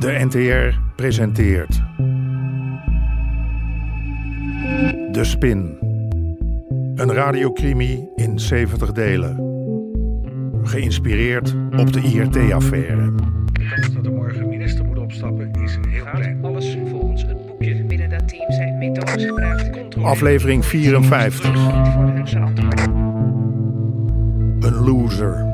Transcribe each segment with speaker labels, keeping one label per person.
Speaker 1: De NTR presenteert. De Spin. Een radiocrimi in 70 delen. Geïnspireerd op de IRT-affaire.
Speaker 2: kans dat er morgen minister moet opstappen is heel klein.
Speaker 3: Alles volgens het boekje. Binnen dat team zijn methodes gebruikt. Controle.
Speaker 1: Aflevering 54.
Speaker 3: Voor hun verantwoording.
Speaker 1: Een loser.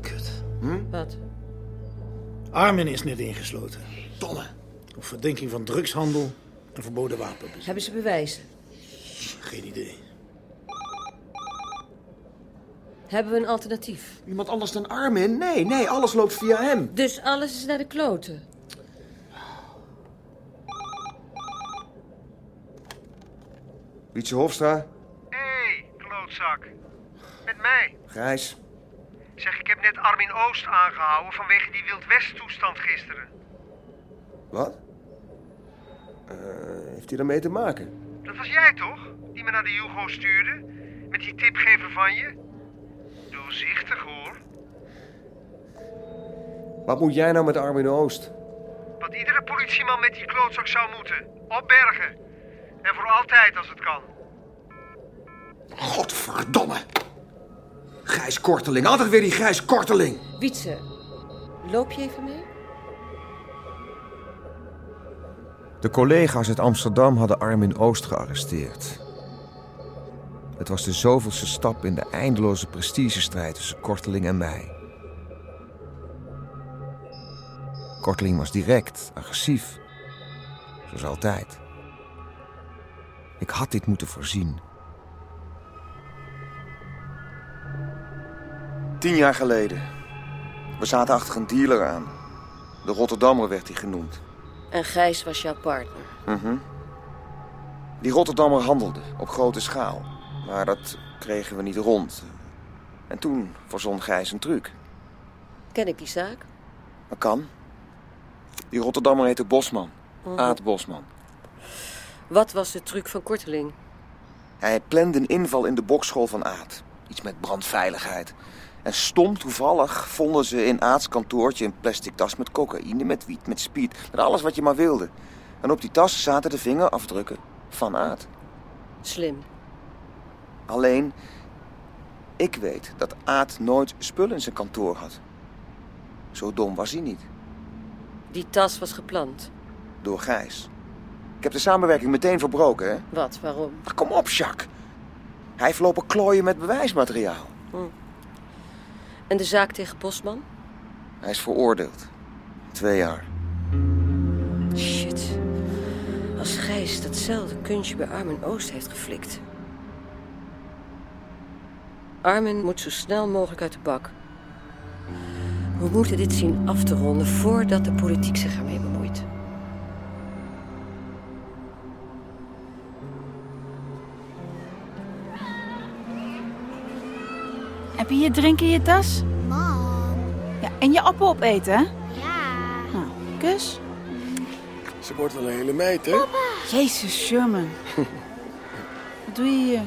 Speaker 4: Kut.
Speaker 5: Wat?
Speaker 4: Armin is net ingesloten. Domme. Op verdenking van drugshandel en verboden wapenbezit.
Speaker 5: Hebben ze bewijs?
Speaker 4: Geen idee.
Speaker 5: Hebben we een alternatief?
Speaker 6: Iemand anders dan Armin? Nee, nee, alles loopt via hem.
Speaker 5: Dus alles is naar de kloten.
Speaker 6: Wietse Hofstra,
Speaker 2: Hé, hey, klootzak. Met mij.
Speaker 6: Grijs.
Speaker 2: Zeg, ik heb net Armin Oost aangehouden vanwege die wildwest-toestand gisteren.
Speaker 6: Wat? Eh, heeft hij daarmee te maken?
Speaker 2: Dat was jij toch? Die me naar de Hugo stuurde? Met die tipgever van je? Doorzichtig hoor.
Speaker 6: Wat moet jij nou met Armin Oost?
Speaker 2: Wat iedere politieman met die klootzak zou moeten. Opbergen. En voor altijd als het kan.
Speaker 6: Godverdomme! Grijs Korteling, altijd weer die Grijs Korteling.
Speaker 5: Wietse, loop je even mee?
Speaker 6: De collega's uit Amsterdam hadden Armin Oost gearresteerd. Het was de zoveelste stap in de eindeloze prestigestrijd tussen Korteling en mij. Korteling was direct, agressief. Zoals altijd. Ik had dit moeten voorzien. Tien jaar geleden. We zaten achter een dealer aan. De Rotterdammer werd hij genoemd.
Speaker 5: En Gijs was jouw partner.
Speaker 6: Die Rotterdammer handelde op grote schaal. Maar dat kregen we niet rond. En toen verzon Gijs een truc.
Speaker 5: Ken ik die zaak?
Speaker 6: Dat kan. Die Rotterdammer heette Bosman. Aad Bosman.
Speaker 5: Wat was de truc van Korteling?
Speaker 6: Hij plande een inval in de bokschool van Aad. Iets met brandveiligheid. En stom toevallig vonden ze in Aad's kantoortje een plastic tas met cocaïne, met wiet, met speed. Met alles wat je maar wilde. En op die tas zaten de vingerafdrukken van Aad.
Speaker 5: Slim.
Speaker 6: Alleen, ik weet dat Aad nooit spullen in zijn kantoor had. Zo dom was hij niet,
Speaker 5: Die tas was gepland.
Speaker 6: door Gijs. Ik heb de samenwerking meteen verbroken, hè?
Speaker 5: Wat, waarom?
Speaker 6: Maar kom op, Jacques. Hij heeft lopen klooien met bewijsmateriaal.
Speaker 5: En de zaak tegen Bosman?
Speaker 6: Hij is veroordeeld. Twee jaar.
Speaker 5: Shit. Als Gijs datzelfde kunstje bij Armin Oost heeft geflikt. Armin moet zo snel mogelijk uit de bak. We moeten dit zien af te ronden voordat de politiek zich ermee bemoeit.
Speaker 7: Heb je je drink in je tas?
Speaker 8: Mam,
Speaker 7: Ja, en je appel opeten, hè?
Speaker 8: ja.
Speaker 7: Nou, kus.
Speaker 9: Ze wordt wel een hele meid, hè?
Speaker 7: Jezus, Sherman. Wat doe je hier?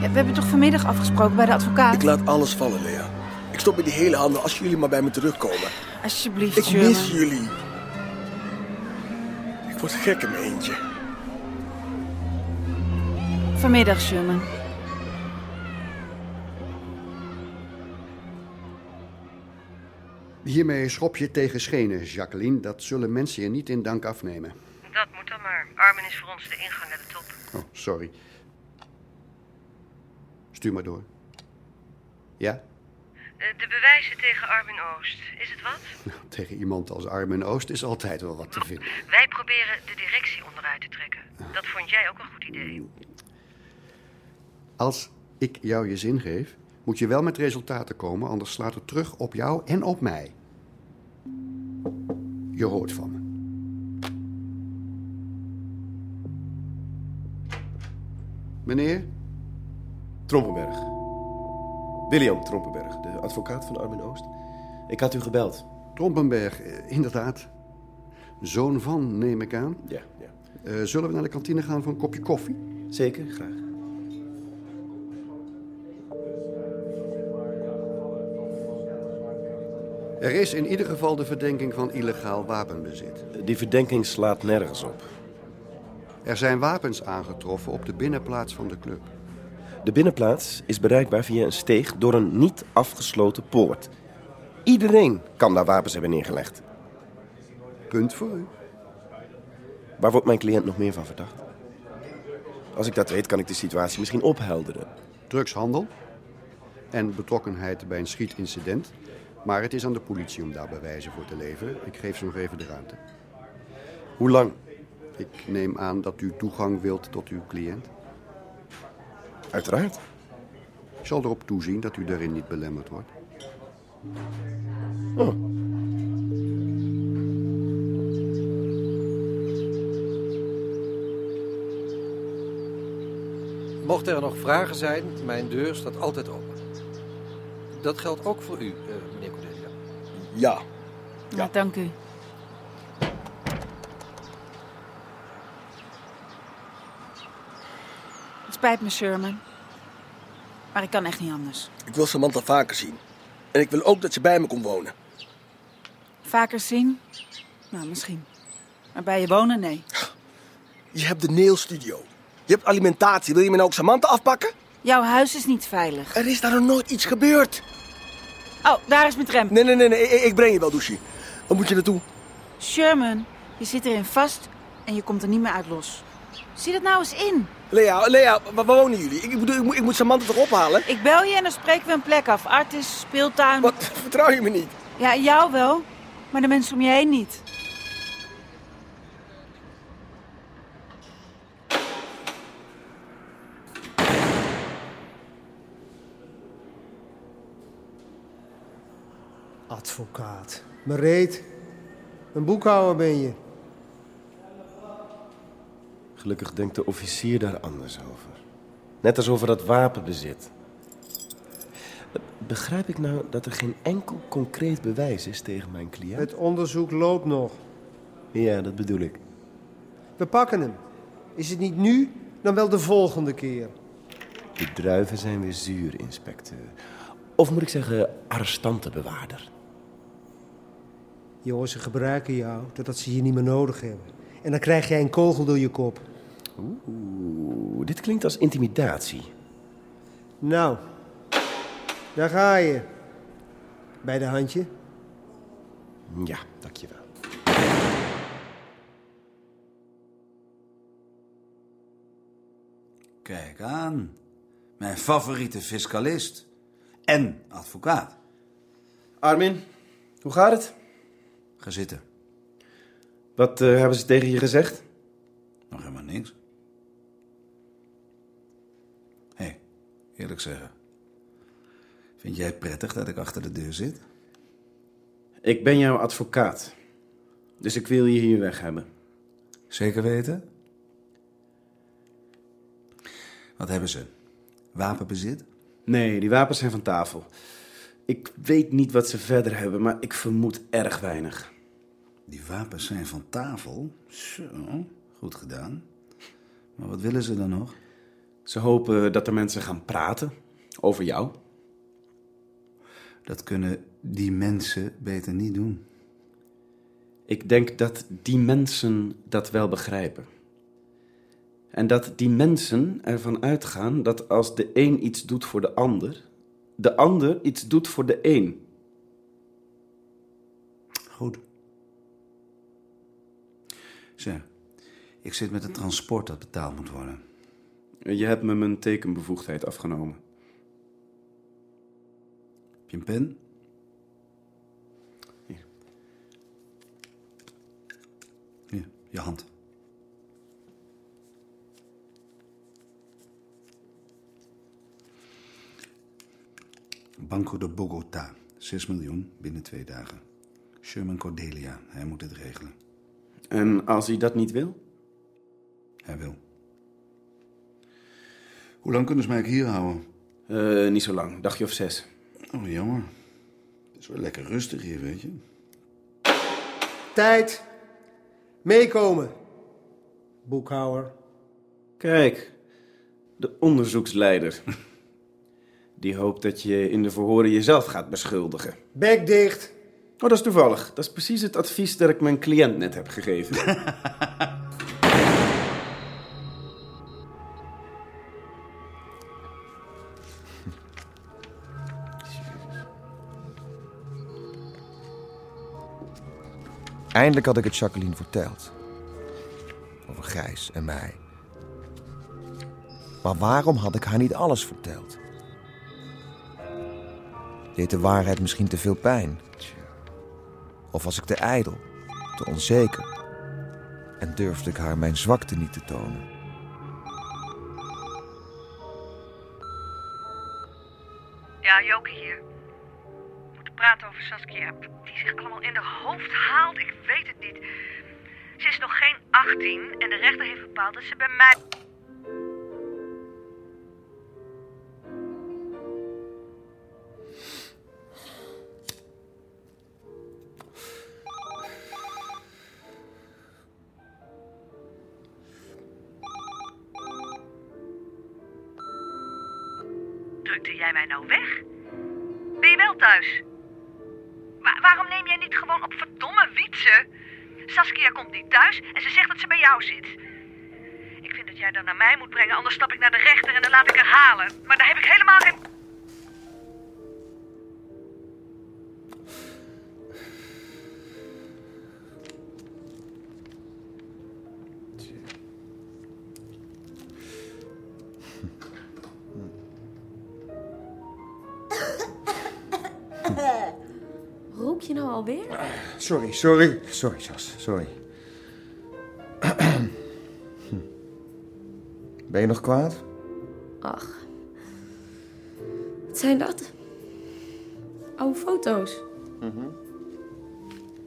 Speaker 7: Ja, we hebben toch vanmiddag afgesproken bij de advocaat?
Speaker 9: Ik laat alles vallen, Lea. Ik stop met die hele handen als jullie maar bij me terugkomen.
Speaker 7: Alsjeblieft,
Speaker 9: Ik
Speaker 7: Sherman.
Speaker 9: mis jullie. Ik word gek in mijn eentje.
Speaker 7: Vanmiddag, Sherman.
Speaker 10: Hiermee schop je tegen schenen, Jacqueline. Dat zullen mensen je niet in dank afnemen.
Speaker 3: Dat moet dan maar. Armin is voor ons de ingang naar de top.
Speaker 10: Oh, sorry. Stuur maar door. Ja?
Speaker 3: Eh, De bewijzen tegen Armin Oost. Is het wat?
Speaker 10: Nou, tegen iemand als Armin Oost is altijd wel wat te vinden.
Speaker 3: Wij proberen de directie onderuit te trekken. Dat vond jij ook een goed idee.
Speaker 10: Als ik jou je zin geef, moet je wel met resultaten komen, anders slaat het terug op jou en op mij. Je hoort van me. Meneer?
Speaker 9: Trompenberg. William Trompenberg, de advocaat van Armin Oost. Ik had u gebeld.
Speaker 10: Trompenberg, eh, inderdaad. Zoon van, neem ik aan.
Speaker 9: Ja, ja.
Speaker 10: Eh, zullen we naar de kantine gaan voor een kopje koffie?
Speaker 9: Zeker, graag.
Speaker 11: Er is in ieder geval de verdenking van illegaal wapenbezit.
Speaker 9: Die verdenking slaat nergens op.
Speaker 11: Er zijn wapens aangetroffen op de binnenplaats van de club.
Speaker 9: De binnenplaats is bereikbaar via een steeg door een niet afgesloten poort. Iedereen kan daar wapens hebben neergelegd.
Speaker 11: Punt voor u.
Speaker 9: Waar wordt mijn cliënt nog meer van verdacht? Als ik dat weet, kan ik de situatie misschien ophelderen.
Speaker 11: Drugshandel en betrokkenheid bij een schietincident. Maar het is aan de politie om daar bewijzen voor te leveren. Ik geef ze nog even de ruimte.
Speaker 9: Hoe lang?
Speaker 11: Ik neem aan dat u toegang wilt tot uw cliënt.
Speaker 9: Uiteraard.
Speaker 11: Ik zal erop toezien dat u daarin niet belemmerd wordt.
Speaker 12: Mochten er nog vragen zijn, mijn deur staat altijd open. Dat geldt ook voor u, eh, meneer Cordelia.
Speaker 9: Ja.
Speaker 7: Ja, dank u. Het spijt me, Sherman. Maar ik kan echt niet anders.
Speaker 6: Ik wil Samantha vaker zien. En ik wil ook dat ze bij me komt wonen.
Speaker 7: Vaker zien? Nou, misschien. Maar bij je wonen, nee.
Speaker 6: Je hebt de nail studio. Je hebt alimentatie. Wil je me nou ook Samantha afpakken?
Speaker 7: Jouw huis is niet veilig.
Speaker 6: Er is daar nog nooit iets gebeurd.
Speaker 7: Oh, daar is mijn tram.
Speaker 6: Nee, nee, nee. nee. Ik, ik breng je wel, douche. Waar moet je naartoe?
Speaker 7: Sherman, je zit erin vast en je komt er niet meer uit los. Zie dat nou eens in.
Speaker 6: Lea, Lea, waar, waar wonen jullie? Ik, bedoel, ik, moet, ik moet Samantha toch ophalen?
Speaker 7: Ik bel je en dan spreken we een plek af. Artis, speeltuin.
Speaker 6: Wat? Vertrouw je me niet?
Speaker 7: Ja, jou wel, maar de mensen om je heen niet.
Speaker 13: Advocaat. Maar reet, een boekhouder ben je.
Speaker 9: Gelukkig denkt de officier daar anders over. Net als over dat wapenbezit. Begrijp ik nou dat er geen enkel concreet bewijs is tegen mijn cliënt?
Speaker 13: Het onderzoek loopt nog.
Speaker 9: Ja, dat bedoel ik.
Speaker 13: We pakken hem. Is het niet nu, dan wel de volgende keer.
Speaker 9: De druiven zijn weer zuur, inspecteur. Of moet ik zeggen, arrestantenbewaarder.
Speaker 13: Jongens, ze gebruiken jou totdat ze je niet meer nodig hebben. En dan krijg jij een kogel door je kop.
Speaker 9: Oeh, dit klinkt als intimidatie.
Speaker 13: Nou, daar ga je. Bij de handje.
Speaker 9: Ja, dankjewel.
Speaker 10: Kijk aan. Mijn favoriete fiscalist. En advocaat.
Speaker 9: Armin, hoe gaat het?
Speaker 10: Ga zitten.
Speaker 9: Wat eh, hebben ze tegen je gezegd?
Speaker 10: Nog helemaal niks. Hé, hey, eerlijk zeggen. Vind jij het prettig dat ik achter de deur zit?
Speaker 9: Ik ben jouw advocaat. Dus ik wil je hier weg hebben.
Speaker 10: Zeker weten? Wat hebben ze? Wapenbezit?
Speaker 9: Nee, die wapens zijn van tafel. Ik weet niet wat ze verder hebben, maar ik vermoed erg weinig.
Speaker 10: Die wapens zijn van tafel? Zo, goed gedaan. Maar wat willen ze dan nog?
Speaker 9: Ze hopen dat er mensen gaan praten over jou.
Speaker 10: Dat kunnen die mensen beter niet doen.
Speaker 9: Ik denk dat die mensen dat wel begrijpen. En dat die mensen ervan uitgaan dat als de een iets doet voor de ander, de ander iets doet voor de een.
Speaker 10: Goed. Zeg, ik zit met een transport dat betaald moet worden.
Speaker 9: Je hebt me mijn tekenbevoegdheid afgenomen.
Speaker 10: Heb je een pen? Hier. Hier, je hand. Banco de Bogota. 6 miljoen binnen twee dagen. Sherman Cordelia, hij moet het regelen.
Speaker 9: En als hij dat niet wil?
Speaker 10: Hij wil. Hoe lang kunnen ze mij eigenlijk hier houden?
Speaker 9: Eh, niet zo lang, dagje of zes.
Speaker 10: Oh, jammer. Het is wel lekker rustig hier, weet je.
Speaker 13: Tijd. Meekomen. Boekhouwer.
Speaker 9: Kijk, de onderzoeksleider. Die hoopt dat je in de verhoren jezelf gaat beschuldigen.
Speaker 13: Bek dicht.
Speaker 9: Oh, dat is toevallig. Dat is precies het advies dat ik mijn cliënt net heb gegeven.
Speaker 6: Eindelijk had ik het Jacqueline verteld. Over Gijs en mij. Maar waarom had ik haar niet alles verteld? Deed de waarheid misschien te veel pijn? Of was ik te ijdel, te onzeker? En durfde ik haar mijn zwakte niet te tonen?
Speaker 3: Ja, Joke hier. We moeten praten over Saskia. Die zich allemaal in de hoofd haalt. Ik weet het niet. Ze is nog geen 18 en de rechter heeft bepaald dat ze bij mij... Drukte jij mij nou weg? Ben je wel thuis? Wa- waarom neem jij niet gewoon op verdomme wietsen? Saskia komt niet thuis en ze zegt dat ze bij jou zit. Ik vind dat jij haar naar mij moet brengen, anders stap ik naar de rechter en dan laat ik haar halen. Maar daar heb ik helemaal geen...
Speaker 7: Rook je nou alweer?
Speaker 14: Sorry, sorry. Sorry, Sas. Sorry.
Speaker 6: Ben je nog kwaad?
Speaker 7: Ach. Wat zijn dat? Oude foto's.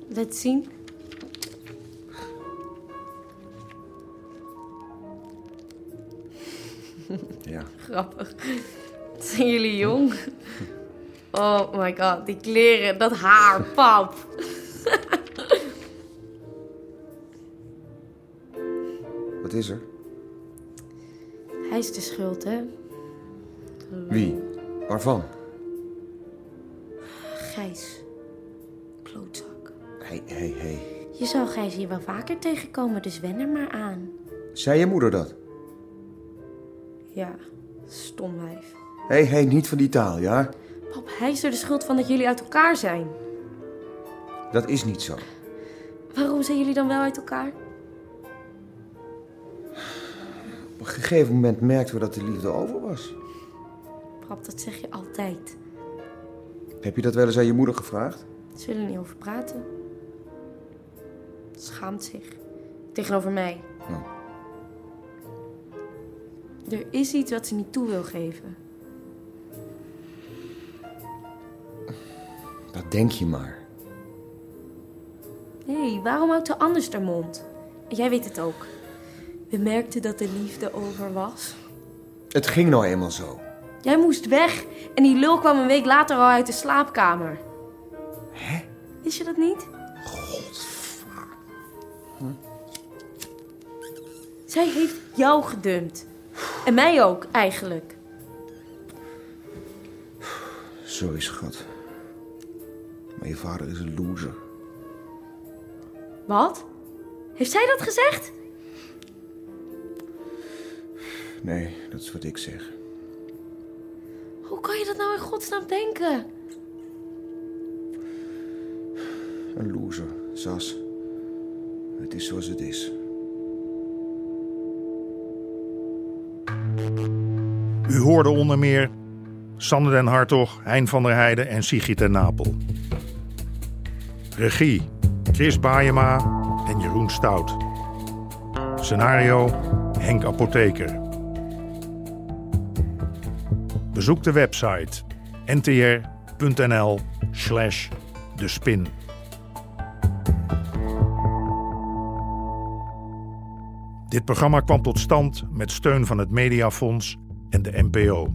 Speaker 7: Laat zien.
Speaker 6: Ja.
Speaker 7: Grappig. Wat zijn jullie jong? Oh my god, die kleren, dat haar, pap.
Speaker 6: Wat is er?
Speaker 7: Hij is de schuld, hè?
Speaker 6: Wie? Waarvan?
Speaker 7: Gijs. Klootzak.
Speaker 6: Hé, hé, hé.
Speaker 7: Je zou Gijs hier wel vaker tegenkomen, dus wen er maar aan.
Speaker 6: Zei je moeder dat?
Speaker 7: Ja, stom wijf.
Speaker 6: Hé, hé, niet van die taal, ja?
Speaker 7: Pap, hij is er de schuld van dat jullie uit elkaar zijn.
Speaker 6: Dat is niet zo.
Speaker 7: Waarom zijn jullie dan wel uit elkaar?
Speaker 6: Op een gegeven moment merkten we dat de liefde over was.
Speaker 7: Pap, dat zeg je altijd.
Speaker 6: Heb je dat wel eens aan je moeder gevraagd?
Speaker 7: Ze willen er niet over praten. Schaamt zich. Tegenover mij. Er is iets wat ze niet toe wil geven.
Speaker 6: Dat denk je maar.
Speaker 7: Hé, waarom houdt ze anders haar mond? En jij weet het ook. We merkten dat de liefde over was.
Speaker 6: Het ging nou eenmaal zo.
Speaker 7: Jij moest weg en die lul kwam een week later al uit de slaapkamer. Hè? Wist je dat niet?
Speaker 6: Hm.
Speaker 7: Zij heeft jou gedumpt. En mij ook, eigenlijk.
Speaker 14: Sorry, schat. Maar je vader is een loser.
Speaker 7: Wat? Heeft zij dat gezegd?
Speaker 14: Nee, dat is wat ik zeg.
Speaker 7: Hoe kan je dat nou in godsnaam denken?
Speaker 14: Een loser, Sas. Het is zoals het is.
Speaker 1: U hoorde onder meer Sander den Hartog, Hein van der Heijden en Sigrid ten Napel. Regie Chris Baayema en Jeroen Stout. Scenario Henk Apotheker. Bezoek de website ntr.nl slash de spin. Dit programma kwam tot stand met steun van het Mediafonds en de NPO.